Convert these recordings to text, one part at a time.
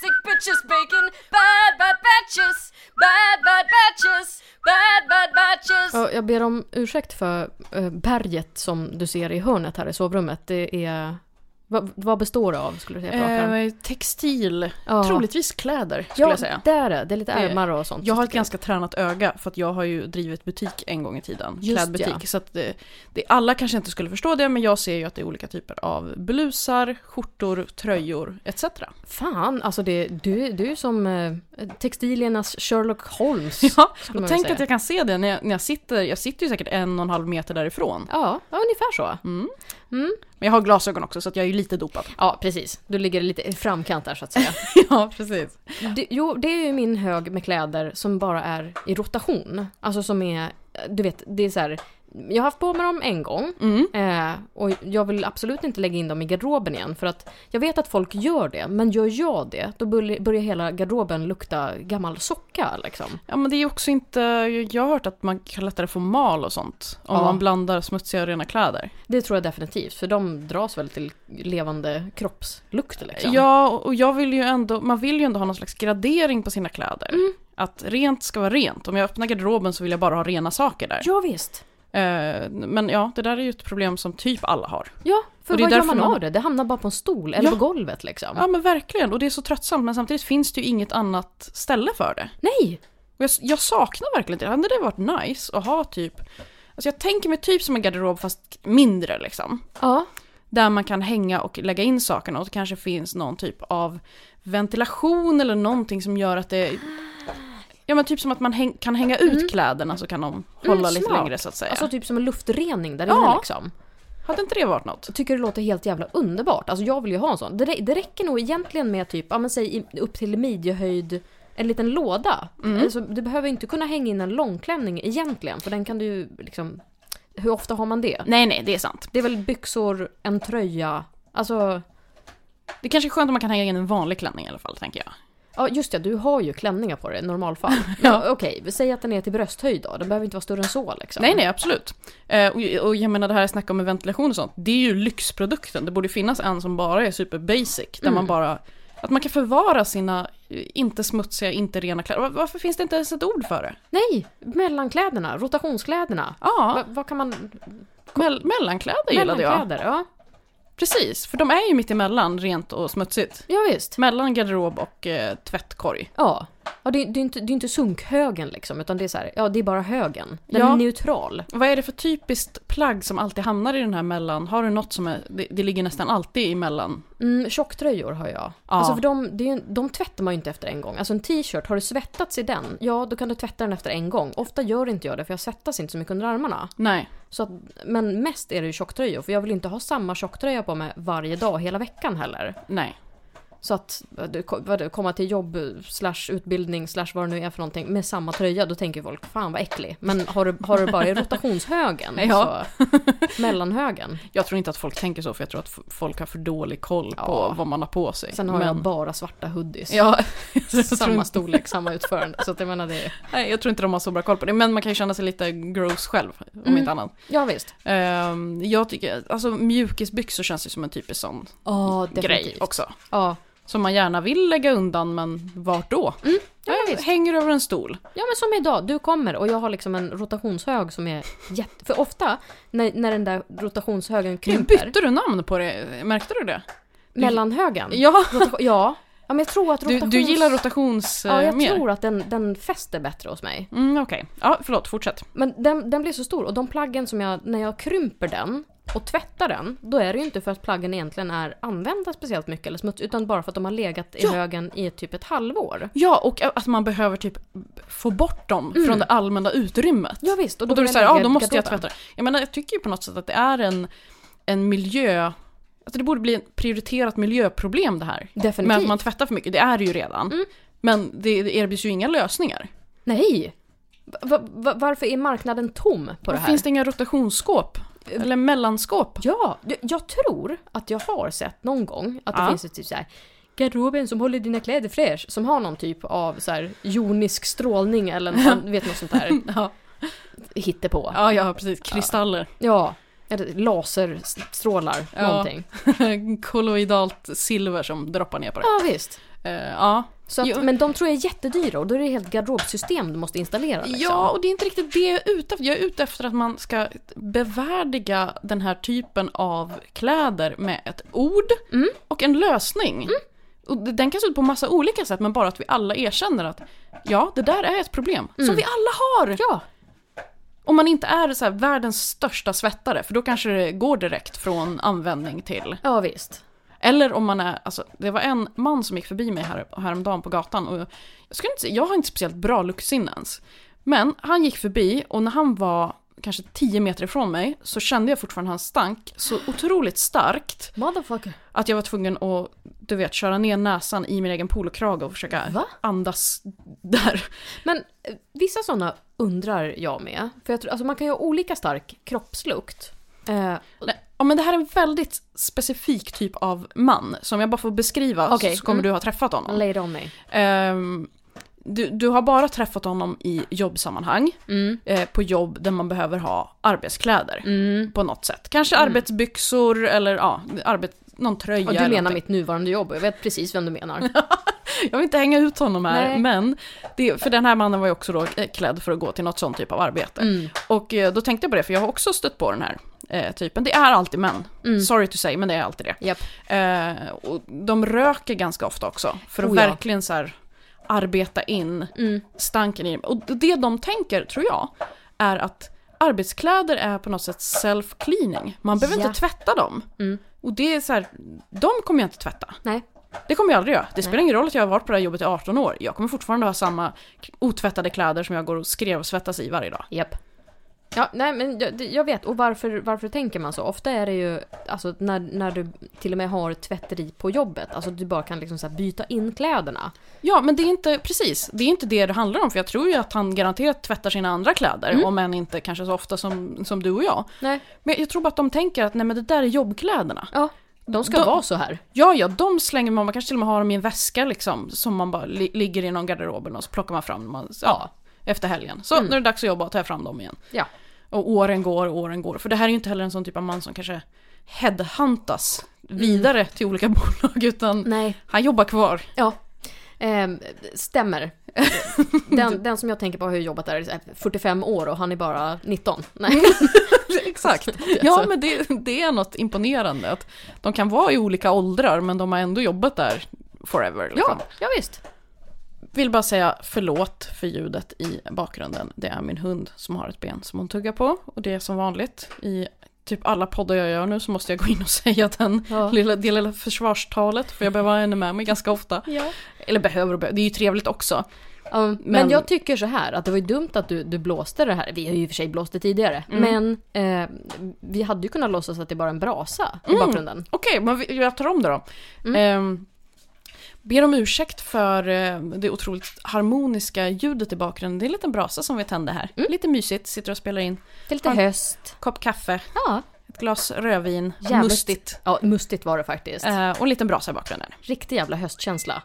sandwiches, bacon, bad bad batches, bad bad batches, bad bad batches. Ja, jag ber om ursäkt för eh, berget som du ser i hörnet här i sovrummet. Det är... Vad, vad består det av skulle du säga? Äh, Eh, textil, ja. troligtvis kläder skulle Ja, jag säga. det är det. Det är lite Det- ärmar och sånt. Jag har ett ganska tränat öga för att jag har ju drivit butik en gång i tiden. Just klädbutik. ja. Så att det, det, alla kanske inte skulle förstå det men jag ser ju att det är olika typer av blusar, skjortor, tröjor etc. Fan, alltså det, du, du är som eh, textiliernas Sherlock Holmes. Ja, skulle man och väl tänk säga. att jag kan se det när jag, när jag sitter, jag sitter ju säkert en och en halv meter därifrån. Ja, ja, ungefär så. Mm. Mm. Men jag har glasögon också så att jag är ju lite dopad. Ja, precis. Du ligger lite i framkant där så att säga. ja, precis. Det, jo, det är ju min hög med kläder som bara är i rotation. Alltså som är, du vet, det är så här. Jag har haft på mig dem en gång Mm. eh, och jag vill absolut inte lägga in dem i garderoben igen för att jag vet att folk gör det, men gör jag det då börj- börjar hela garderoben lukta gammal socka liksom. Ja men det är också inte, jag har hört att man kan lättare få mal och sånt. Om Ja. man blandar smutsiga och rena kläder. Det tror jag definitivt, för de dras väl till levande kroppslukter liksom. Ja, och- och jag vill ju ändå, man vill ju ändå ha någon slags gradering på sina kläder. Mm. Att rent ska vara rent. Om jag öppnar garderoben så vill jag bara ha rena saker där. ja visst. Eh, men ja, det där är ju ett problem som typ alla har. Ja, för Och det är vad gör därför man man- av det? Det hamnar bara på en stol eller Ja. på golvet liksom. Ja men verkligen, och det är så tröttsamt men samtidigt finns det ju inget annat ställe för det. Nej! Och jag, jag saknar verkligen det. Hade det varit nice att ha typ, alltså jag tänker mig typ som en garderob fast mindre liksom. Ja. Där man kan hänga och lägga in sakerna och det kanske finns någon typ av ventilation eller någonting som gör att det... Ja men typ som att man häng, kan hänga ut kläderna så kan de hålla Mm, lite smart. längre så att säga. Alltså typ som en luftrening där Ja. inne liksom. Hade inte det varit något? Tycker det låter helt jävla underbart. Alltså jag vill ju ha en sån. Det, rä- det räcker nog egentligen med typ, ja men säg i- upp till midjehöjd, en liten låda. Mm. Alltså, du behöver inte kunna hänga in en långklänning egentligen, för den kan du ju liksom... Hur ofta har man det? Nej nej, det är sant. Det är väl byxor, en tröja, alltså... Det kanske är skönt om man kan hänga in en vanlig klänning i alla fall tänker jag. Ja just det, du har ju klänningar på dig i normalfall. ja. Okej, säg att den är till brösthöjd då, den behöver inte vara större än så liksom. Nej nej, absolut. Eh, och, och jag menar det här snacket om med ventilation och sånt, det är ju lyxprodukten. Det borde finnas en som bara är super basic, där Mm. man bara... Att man kan förvara sina eh, inte smutsiga, inte rena kläder. Var- Varför finns det inte ens ett ord för det? Nej! Mellankläderna, rotationskläderna. Ja, Va, vad kan man... Mell- mellankläder gillade jag. Mellankläder, ja. Precis, för de är ju mitt emellan rent och smutsigt. Ja visst. Mellan garderob och eh, tvättkorg. Ja. ja det, det, är inte, det är inte sunkhögen liksom, utan det är så här, ja det är bara högen. Den Ja. är neutral. Vad är det för typiskt plagg som alltid hamnar i den här mellan? Har du något som är, det, det ligger nästan alltid emellan? Mm, tjocktröjor har jag. Alltså för de, det är, ju- de tvättar man ju inte efter en gång. Alltså en t-shirt, har du svettats i den, ja då kan du tvätta den efter en gång. Ofta gör inte jag det för jag svettas inte så mycket under armarna. Nej. Så att, men mest är det ju tjocktröjor, för jag vill inte ha samma tjocktröja på mig varje dag hela veckan heller. Nej. Så att du- vad du, komma till jobb slash utbildning slash vad det nu är för någonting med samma tröja, då tänker folk fan vad äcklig. Men har du, har du bara i rotationshögen, Ja. så, mellanhögen. Jag tror inte att folk tänker så för jag tror att f- folk har för dålig koll Ja. på vad man har på sig. Sen har Men- jag bara svarta hoodies. Ja, jag tror samma inte- storlek, samma utförande. Så att jag menar det är... Nej, jag tror inte de har så bra koll på det. Men man kan ju känna sig lite gross själv, om Mm. inte annat. Ja visst. Ehm, jag tycker, alltså mjukisbyxor känns ju som en typisk sån Ja, grej definitivt. också. Mm, Ja. Som man gärna vill lägga undan, men vart då? Ja, Eh, visst. hänger över en stol. ja men som idag, du kommer och jag har liksom en rotationshög som är jätte... För ofta när, när den där rotationshögen Nu krymper, bytte du namn på det, märkte du det? mellanhögen. Ja, Rota- ja. ja, men jag tror att du, rotations... du gillar rotations... Ja, eh, jag mer. tror att den, den fäster bättre hos mig. Mm, Okej, ja, förlåt, fortsätt. Men den, den blir så stor och de plaggen som jag, när jag krymper den och tvättar den, då är det ju inte för att plaggen egentligen är använda speciellt mycket eller smuts, utan bara för att de har legat i Ja. högen i typ ett halvår. Ja, och att man behöver typ få bort dem från det allmänna utrymmet. Ja, visst, och Mm. och då då, är det vill så jag här, ja lägga då måste jag garderoben. tvätta det. Jag menar, jag tycker ju på något sätt att det är en, en miljö... Alltså det borde bli ett prioriterat miljöproblem det här. Med Definitivt. att man tvättar för mycket, det är det ju redan. Men det, det erbjuds ju inga lösningar. Nej! Va, va, varför är marknaden tom på det Varför här? Finns det inga rotationsskåp? Eller mellanskåp? Ja, jag- jag tror att jag har sett någon gång att det Ja. finns ett typ så här garderoben som håller dina kläder fräsch, som har någon typ av så här jonisk strålning eller någon, vet något sånt där Ja, hittepå. ja, ja precis. Kristaller. Ja, eller laserstrålar, Ja. någonting. Kolloidalt silver som droppar ner på det. Ja, visst. Eh, ja. Så Jo. att, men de tror jag är jättedyra och då är det ett helt garderobsystem du måste installera. Liksom. ja, och det är inte riktigt det jag är ute efter. Jag är ute efter att man ska bevärdiga den här typen av kläder med ett ord och en lösning. Och det- den kan se ut på massa olika sätt, men bara att vi alla erkänner att ja, det där är ett problem som vi alla har. ja. Om man inte är så här, världens största svettare, för då kanske det går direkt från användning till Ja, visst. Eller om man är, alltså det var en man som gick förbi mig här, häromdagen på gatan och jag, jag, skulle inte, säga- jag har inte speciellt bra luktsinne ens. Men han gick förbi och när han var kanske 10 meter ifrån mig så kände jag fortfarande hans stank så otroligt starkt Motherfucker. att jag var tvungen att, du vet, köra ner näsan i min egen polokrage och försöka Va? andas där. Men eh, vissa sådana undrar jag med. För jag tror, alltså man kan ju ha olika stark kroppslukt. Eh, Nej, Ja men det här är en väldigt specifik typ av man som jag bara får beskriva så- Okej, så kommer mm. du ha träffat honom. lay it on me. Ehm, du, du har bara träffat honom i jobbsammanhang, Mm. eh, på jobb där man behöver ha arbetskläder Mm. på något sätt. Kanske arbetsbyxor eller ja, arbet, någon tröja. Ja, du eller menar någonting. mitt nuvarande jobb och jag vet precis vem du menar. Jag vill inte hänga ut honom här, Nej. men det, för den här mannen var ju också då eh, klädd för att gå till något sånt typ av arbete. Mm. Och eh, då tänkte jag på det, för jag har också stött på den här eh, typen. Det är alltid män. Mm. Sorry to say, men det är alltid det. Japp. Eh, och de röker ganska ofta också, för att Oh ja. verkligen så här arbeta in Mm. stanken i dem. Och det de tänker, tror jag, är att arbetskläder är på något sätt self-cleaning. Man behöver Ja. inte tvätta dem. Mm. Och det är så här, de kommer jag inte tvätta. Nej. Det kommer jag aldrig göra. Det spelar ingen roll att jag har varit på det här jobbet i 18 år. Jag kommer fortfarande ha samma otvättade kläder som jag går och skrevsvettas i varje dag. Japp. Ja, nej men jag, det- jag vet. Och varför, varför tänker man så? Ofta är det ju alltså, när, när du till och med har tvätteri på jobbet. Alltså du bara kan liksom så här byta in kläderna. Ja, men det är inte, precis, det är inte det det handlar om. För jag tror ju att han garanterat tvättar sina andra kläder, om än inte kanske så ofta som, som du och jag. Nej. Men jag tror bara att de tänker att nej men det där är jobbkläderna. Ja, de ska De- vara så här. Ja, ja, de slänger man, man kanske till och med har dem i en väska liksom, som man bara li- ligger i någon garderoben och så plockar man fram dem, man, ja, efter helgen. Så nu är det dags att jobba och ta fram dem igen. Ja. Och åren går och åren går, för det här är ju inte heller en sån typ av man som kanske headhuntas vidare till olika bolag, utan Nej. han jobbar kvar. Ja. Ehm, stämmer. Den, den som jag tänker på har ju jobbat där i så här 45 år och han är bara 19. Nej. Exakt. Alltså. Ja, men det, det är något imponerande att de kan vara i olika åldrar, men de har ändå jobbat där forever. Liksom. Ja, ja visst. Vill bara säga förlåt för ljudet i bakgrunden. Det är min hund som har ett ben som hon tuggar på. Och det är som vanligt i typ alla poddar jag gör nu så måste jag gå in och säga den Ja. lilla, det lilla försvarstalet. För jag behöver ha henne med mig ganska ofta. Ja. Eller behöver och behöver, det är ju trevligt också. Ja, men, Men- jag tycker så här, att det var ju dumt att du, du blåste det här. Vi har ju i och för sig blåst det tidigare. Men eh, vi hade ju kunnat låtsas att det är bara en brasa i bakgrunden. Okej, men vi- jag tar om det då. Mm. Ehm, ber om ursäkt för eh, det otroligt harmoniska ljudet i bakgrunden. Det är en liten brasa som vi tände här. Mm. Lite mysigt, sitter och spelar in. Det är lite Ja. höst. Kopp kaffe, Ja, ett glas rödvin, jävligt. mustigt. Ja, mustigt var det faktiskt. Eh, och en liten brasa i bakgrunden. Riktig jävla höstkänsla.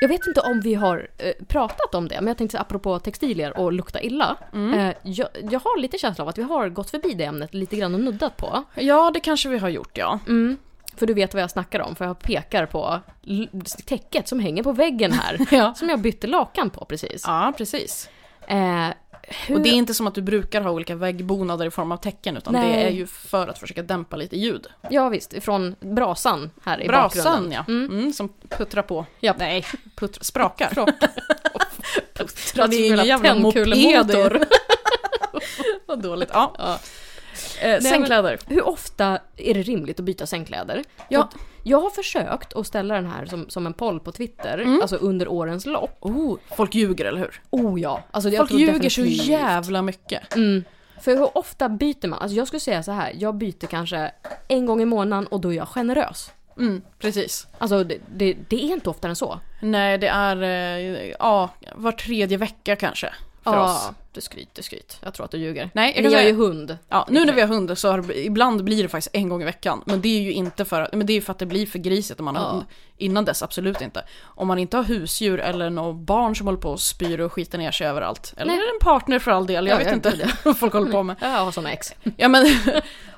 Jag vet inte om vi har eh, pratat om det, men jag tänkte apropå textilier och lukta illa. Eh, jag, jag har lite känsla av att vi har gått förbi det ämnet lite grann och nuddat på. Ja, det kanske vi har gjort, ja. Mm. För du vet vad jag snackar om, för jag pekar på l- täcket som hänger på väggen här. Ja, som jag bytte lakan på precis. ja precis. Eh, hur... Och det är inte som att du brukar ha olika väggbonader i form av tecken, utan det Nej. är ju för att försöka dämpa lite ljud. Ja visst, från brasan här i bakgrunden. Brasan, ja. Mm. Mm, som puttrar på. Ja. Nej, puttrar, sprakar. Alltså, Puttrar som en jävla tändkulemotor. moped. Vad dåligt. Ja. Ja. Eh, men- sängkläder. Hur ofta är det rimligt att byta sängkläder? Ja. För att Jag har försökt att ställa den här som, som en poll på Twitter, alltså under årens lopp. Mm. Oh, folk ljuger, eller hur? Oh ja! Alltså, jag Folk tror ljuger definitivt- så jävla mycket. Mm. För hur ofta byter man? Alltså jag skulle säga så här, jag byter kanske en gång i månaden och då är jag generös. Mm, precis. Alltså det, det, det är inte oftare än så. Nej, det är eh, ja, var tredje vecka kanske. För oss. Du skryt, du skryt. Jag tror att du ljuger. Nej, jag Men kan jag är säga, ju hund. ja, nu när vi har hund så har, det- ibland blir det faktiskt en gång i veckan. Men det är ju inte för, att- men det är ju för att det blir för grisigt om man har Ja. hund. Innan dess absolut inte. Om man inte har husdjur eller några barn som håller på och spyr och skiter ner sig överallt. Eller Nej. en partner för all del, jag Ja, vet jag- inte vad folk håller på med. Jag har såna ex. Ja men,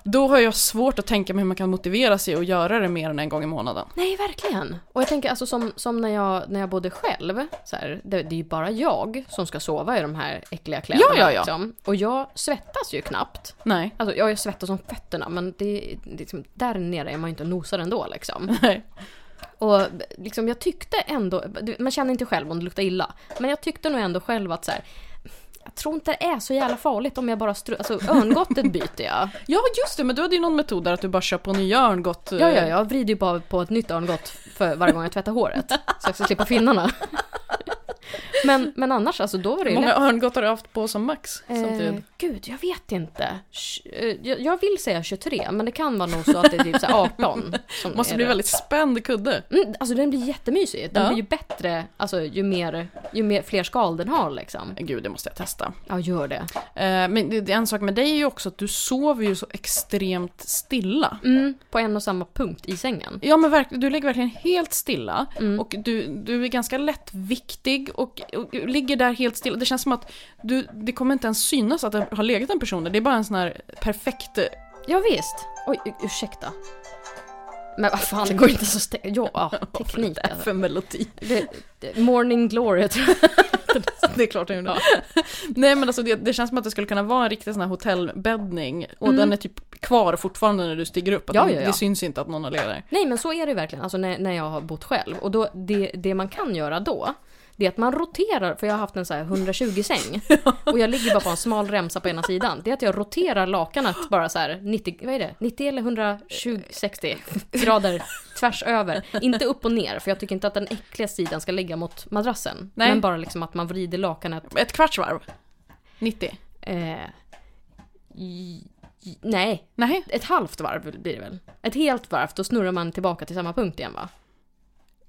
Då har jag svårt att tänka mig hur man kan motivera sig att göra det mer än en gång i månaden. Nej, verkligen. Och jag tänker alltså som, som när, jag, när jag bodde själv. Så här, det, det är ju bara jag som ska sova i de här äckliga kläderna. Ja, ja, ja. Liksom. Och jag svettas ju knappt. Nej. Alltså jag, jag svettas om fötterna men det, det, är liksom, där nere är man ju inte och nosar ändå liksom. Nej. Och liksom, jag tyckte ändå, du- man känner inte själv om det luktar illa. Men jag tyckte nog ändå själv att så här, jag tror inte det är så jävla farligt om jag bara stru- alltså örngottet byter jag. Ja just det, men du hade ju någon metod där att du bara kör på nya örngott. eh, Ja, ja, jag vrider ju bara på ett nytt örngott för varje gång jag tvättar håret. Så jag ska slippa finnarna. Men, men annars, alltså då var det Hur ju många lätt. örngott har du haft på som typ- max Eh, samtidigt? gud, jag vet inte. Tj- eh, Jag, jag vill säga 23, men det kan vara nog så att det är typ så här 18. som Måste är bli det. väldigt spänd kudde. Mm, alltså den blir jättemysig. Den Ja. blir ju bättre alltså, ju, mer, ju mer, fler skal den har liksom. Gud, det måste jag testa. Ja, gör det. Eh, men det, det- en sak med dig är ju också att du sover ju så extremt stilla. Mm, på en och samma punkt i sängen. Ja men verkligen, du ligger verkligen helt stilla Mm. och du, du är ganska lättviktig och, och ligger där helt stilla. Det känns som att du, det kommer inte ens synas att det har legat en person där. Det är bara en sån här perfekt... eh, Ja, visst. Oj, u- ursäkta. Men vad fan, det går inte så stä- Ja, ja, teknik Vad är det alltså. för melodi? Det, det, morning glory tror jag. Det är klart jag gjorde. Nej men alltså det, det känns som att det skulle kunna vara en riktig sån här hotellbäddning och Mm. den är typ kvar fortfarande när du stiger upp. Att Ja, den- ja, ja. Det syns inte att någon har legat där. Nej men så är det ju verkligen, alltså när, när jag har bott själv. Och då, det, det man kan göra då, det är att man roterar, för jag har haft en så här 120-säng. Och jag ligger bara på en smal remsa på ena sidan. Det är att jag roterar lakanet bara så här 90, vad är det? 90 eller 120, 60 grader tvärs över. Inte upp och ner, för jag tycker inte att den äckliga sidan ska ligga mot madrassen. Nej. Men bara liksom att man vrider lakanet. Ett kvarts varv? 90? Eh, i- i- nej, Nej. ett halvt varv blir det väl? Ett helt varv, då snurrar man tillbaka till samma punkt igen va?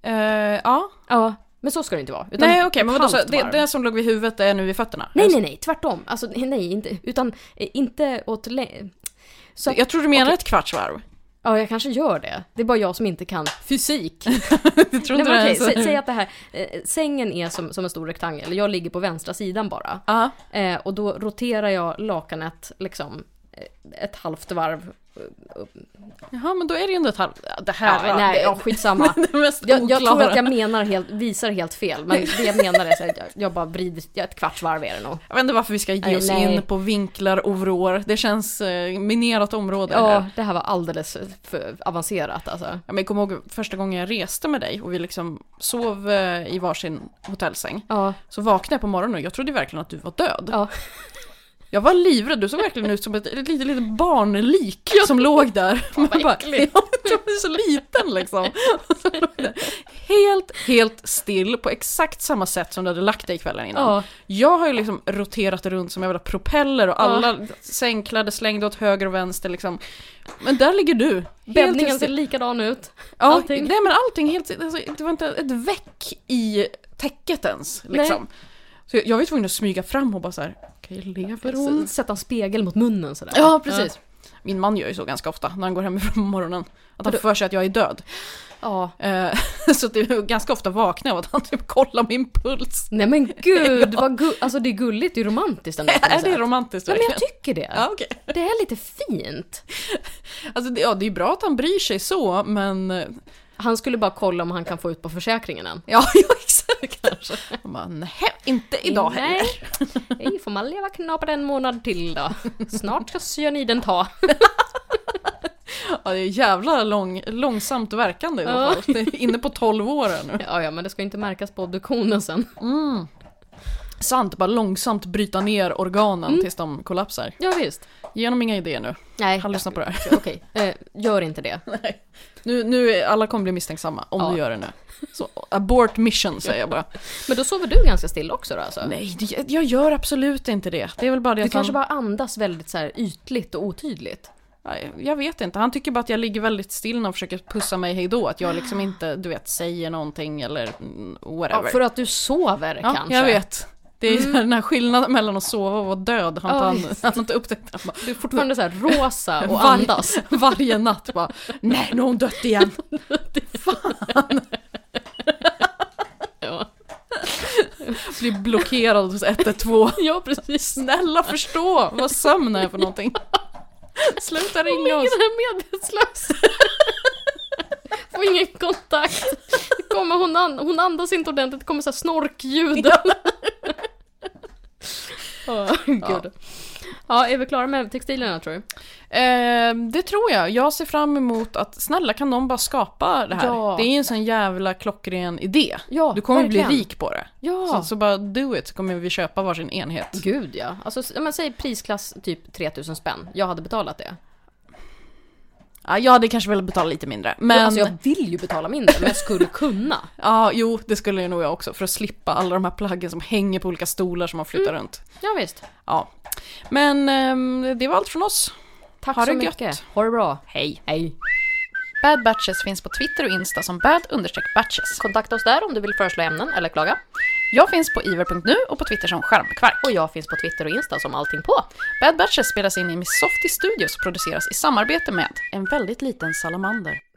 Eh, ja. Ja, men så ska det inte vara. Utan Nej okej, men ett vadå, så halvt det, varv. det som låg vid huvudet är nu vid fötterna? Nej, nej, nej, tvärtom. Alltså, nej, inte, utan eh, inte åt... lä- Så att, Alltså, Jag tror du menar ett kvarts varv. ja, jag kanske gör det. Det är bara jag som inte kan fysik. Du tror nej, inte men det alltså. är okej, så? sä, säg att det här, eh, sängen är som, som en stor rektangel. Jag ligger på vänstra sidan bara. Ja. Eh, och då roterar jag lakanet liksom eh, ett halvt varv. Jaha, men då är det ju ändå ett halvt... ja, Det Ja, här var Äh, nej, det, ja, skitsamma. det mest Jag, jag tror oklara. att jag menar helt, visar helt fel, men det jag menar är så att jag, jag bara vrider, ja, ett kvarts varv är det nog. Jag vet inte varför vi ska ge Nej, oss nej. in på vinklar och vrår. Det känns eh, minerat område här. Ja, det här var alldeles för avancerat alltså. Ja, men jag kommer ihåg första gången jag reste med dig och vi liksom sov eh, i varsin hotellsäng. Ja, Så vaknade jag på morgonen och jag trodde verkligen att du var död. Ja. Jag var livrädd, du såg verkligen ut som ett, ett litet, litet barnlik som låg där. Man bara, äckligt. Ja, du är så liten liksom. Och så låg där. Helt, helt still på exakt samma sätt som du hade lagt dig kvällen innan. ja. Jag har ju liksom roterat runt som en jävla propeller och Ja. alla sängkläder slängde åt höger och vänster liksom. Men där ligger du. Bäddningen helt ser still. likadan ut. Ja, allting. Nej men allting helt, alltså, det var inte ett väck i täcket ens liksom. Så jag, jag var ju tvungen att smyga fram och bara så här, okej lever hon? S- Sätta en spegel mot munnen sådär. Ja precis. Min man gör ju så ganska ofta när han går hemifrån på morgonen. Att han får för sig att jag är död. Ja. Eh, så att det är ganska ofta vaknar jag av att han typ kollar min puls. Nej men gud, vad gu- alltså det är gulligt, det är romantiskt ändå. på något Är det sätt. romantiskt Ja men jag verkligen? tycker det. Ja, okej. Det är lite fint. Alltså det, ja, det är bra att han bryr sig så, men... eh, Han skulle bara kolla om han kan få ut på försäkringen än. Ja, ja exakt kanske. Han bara, nej, inte idag Nej. heller. Nej, får man leva knappt en månad till då. Snart ska cyaniden ta. Ja, det är jävla lång, långsamt verkande i alla Ja. fall. Det är inne på 12 år här nu. Ja, ja, men det ska inte märkas på obduktionen sen. Sant, bara långsamt bryta ner organen Mm. tills de kollapsar. Ja, visst. Ge honom inga idéer nu. Nej, Han lyssnar på det här. okej. Eh, gör inte det. Nu, nu, är- alla kommer bli misstänksamma om Ja. du gör det nu. Så, abort mission säger jag bara. Men då sover du ganska still också då alltså? Nej, det- jag gör absolut inte det. Det är väl bara det Du att han... kanske bara andas väldigt så här ytligt och otydligt. Nej, Jag vet inte, han tycker bara att jag ligger väldigt still när han försöker pussa mig hejdå. Att jag liksom inte, du vet, säger någonting eller mm, whatever. Ja, för att du sover Ja, kanske. Mm. jag vet. Det är den här skillnaden mellan att sova och vara död. Han, Ja, han, visst. han har inte upptäckt det. Han bara, Du är fortfarande så här rosa och Varje- andas. Varje natt bara, nej nu har hon dött igen. Ja. Blir blockerad hos 112. ja, precis. Snälla förstå, vad sömn är för någonting. Sluta De ringa oss. ligger där medvetslös. Får ingen kontakt. Det Kommer hon, an- hon andas inte ordentligt, det kommer så här snorkljud. Åh, gud. Ja, är vi klara med textilerna tror du? Eh, det tror jag. Jag ser fram emot att, snälla kan någon bara skapa det här? Ja. Det är ju en sån jävla klockren idé. Ja, Du kommer verkligen. bli rik på det. Ja. Så, så bara do it, så kommer vi köpa varsin enhet. Gud ja. Alltså, s- ja, men säg prisklass typ 3000 spänn. Jag hade betalat det. Ja, jag hade kanske velat betala lite mindre. Men, Men... ja, Alltså jag vill ju betala mindre, men jag skulle kunna. jo, det skulle ju nog jag också. För att slippa alla de här plaggen som hänger på olika stolar som man flyttar runt. Ja, visst. Ja. Men ehm, det var allt från oss. Tack Ha så det mycket. gött. Ha det bra. Hej. Hej. Bad Batches finns på Twitter och Insta som bad-batches. Kontakta oss där om du vill föreslå ämnen eller klaga. Jag finns på iver.nu och på Twitter som skärmkvark. Och jag finns på Twitter och Insta som allting på. Bad Batches spelas in i Missofty Studios och produceras i samarbete med En väldigt liten salamander.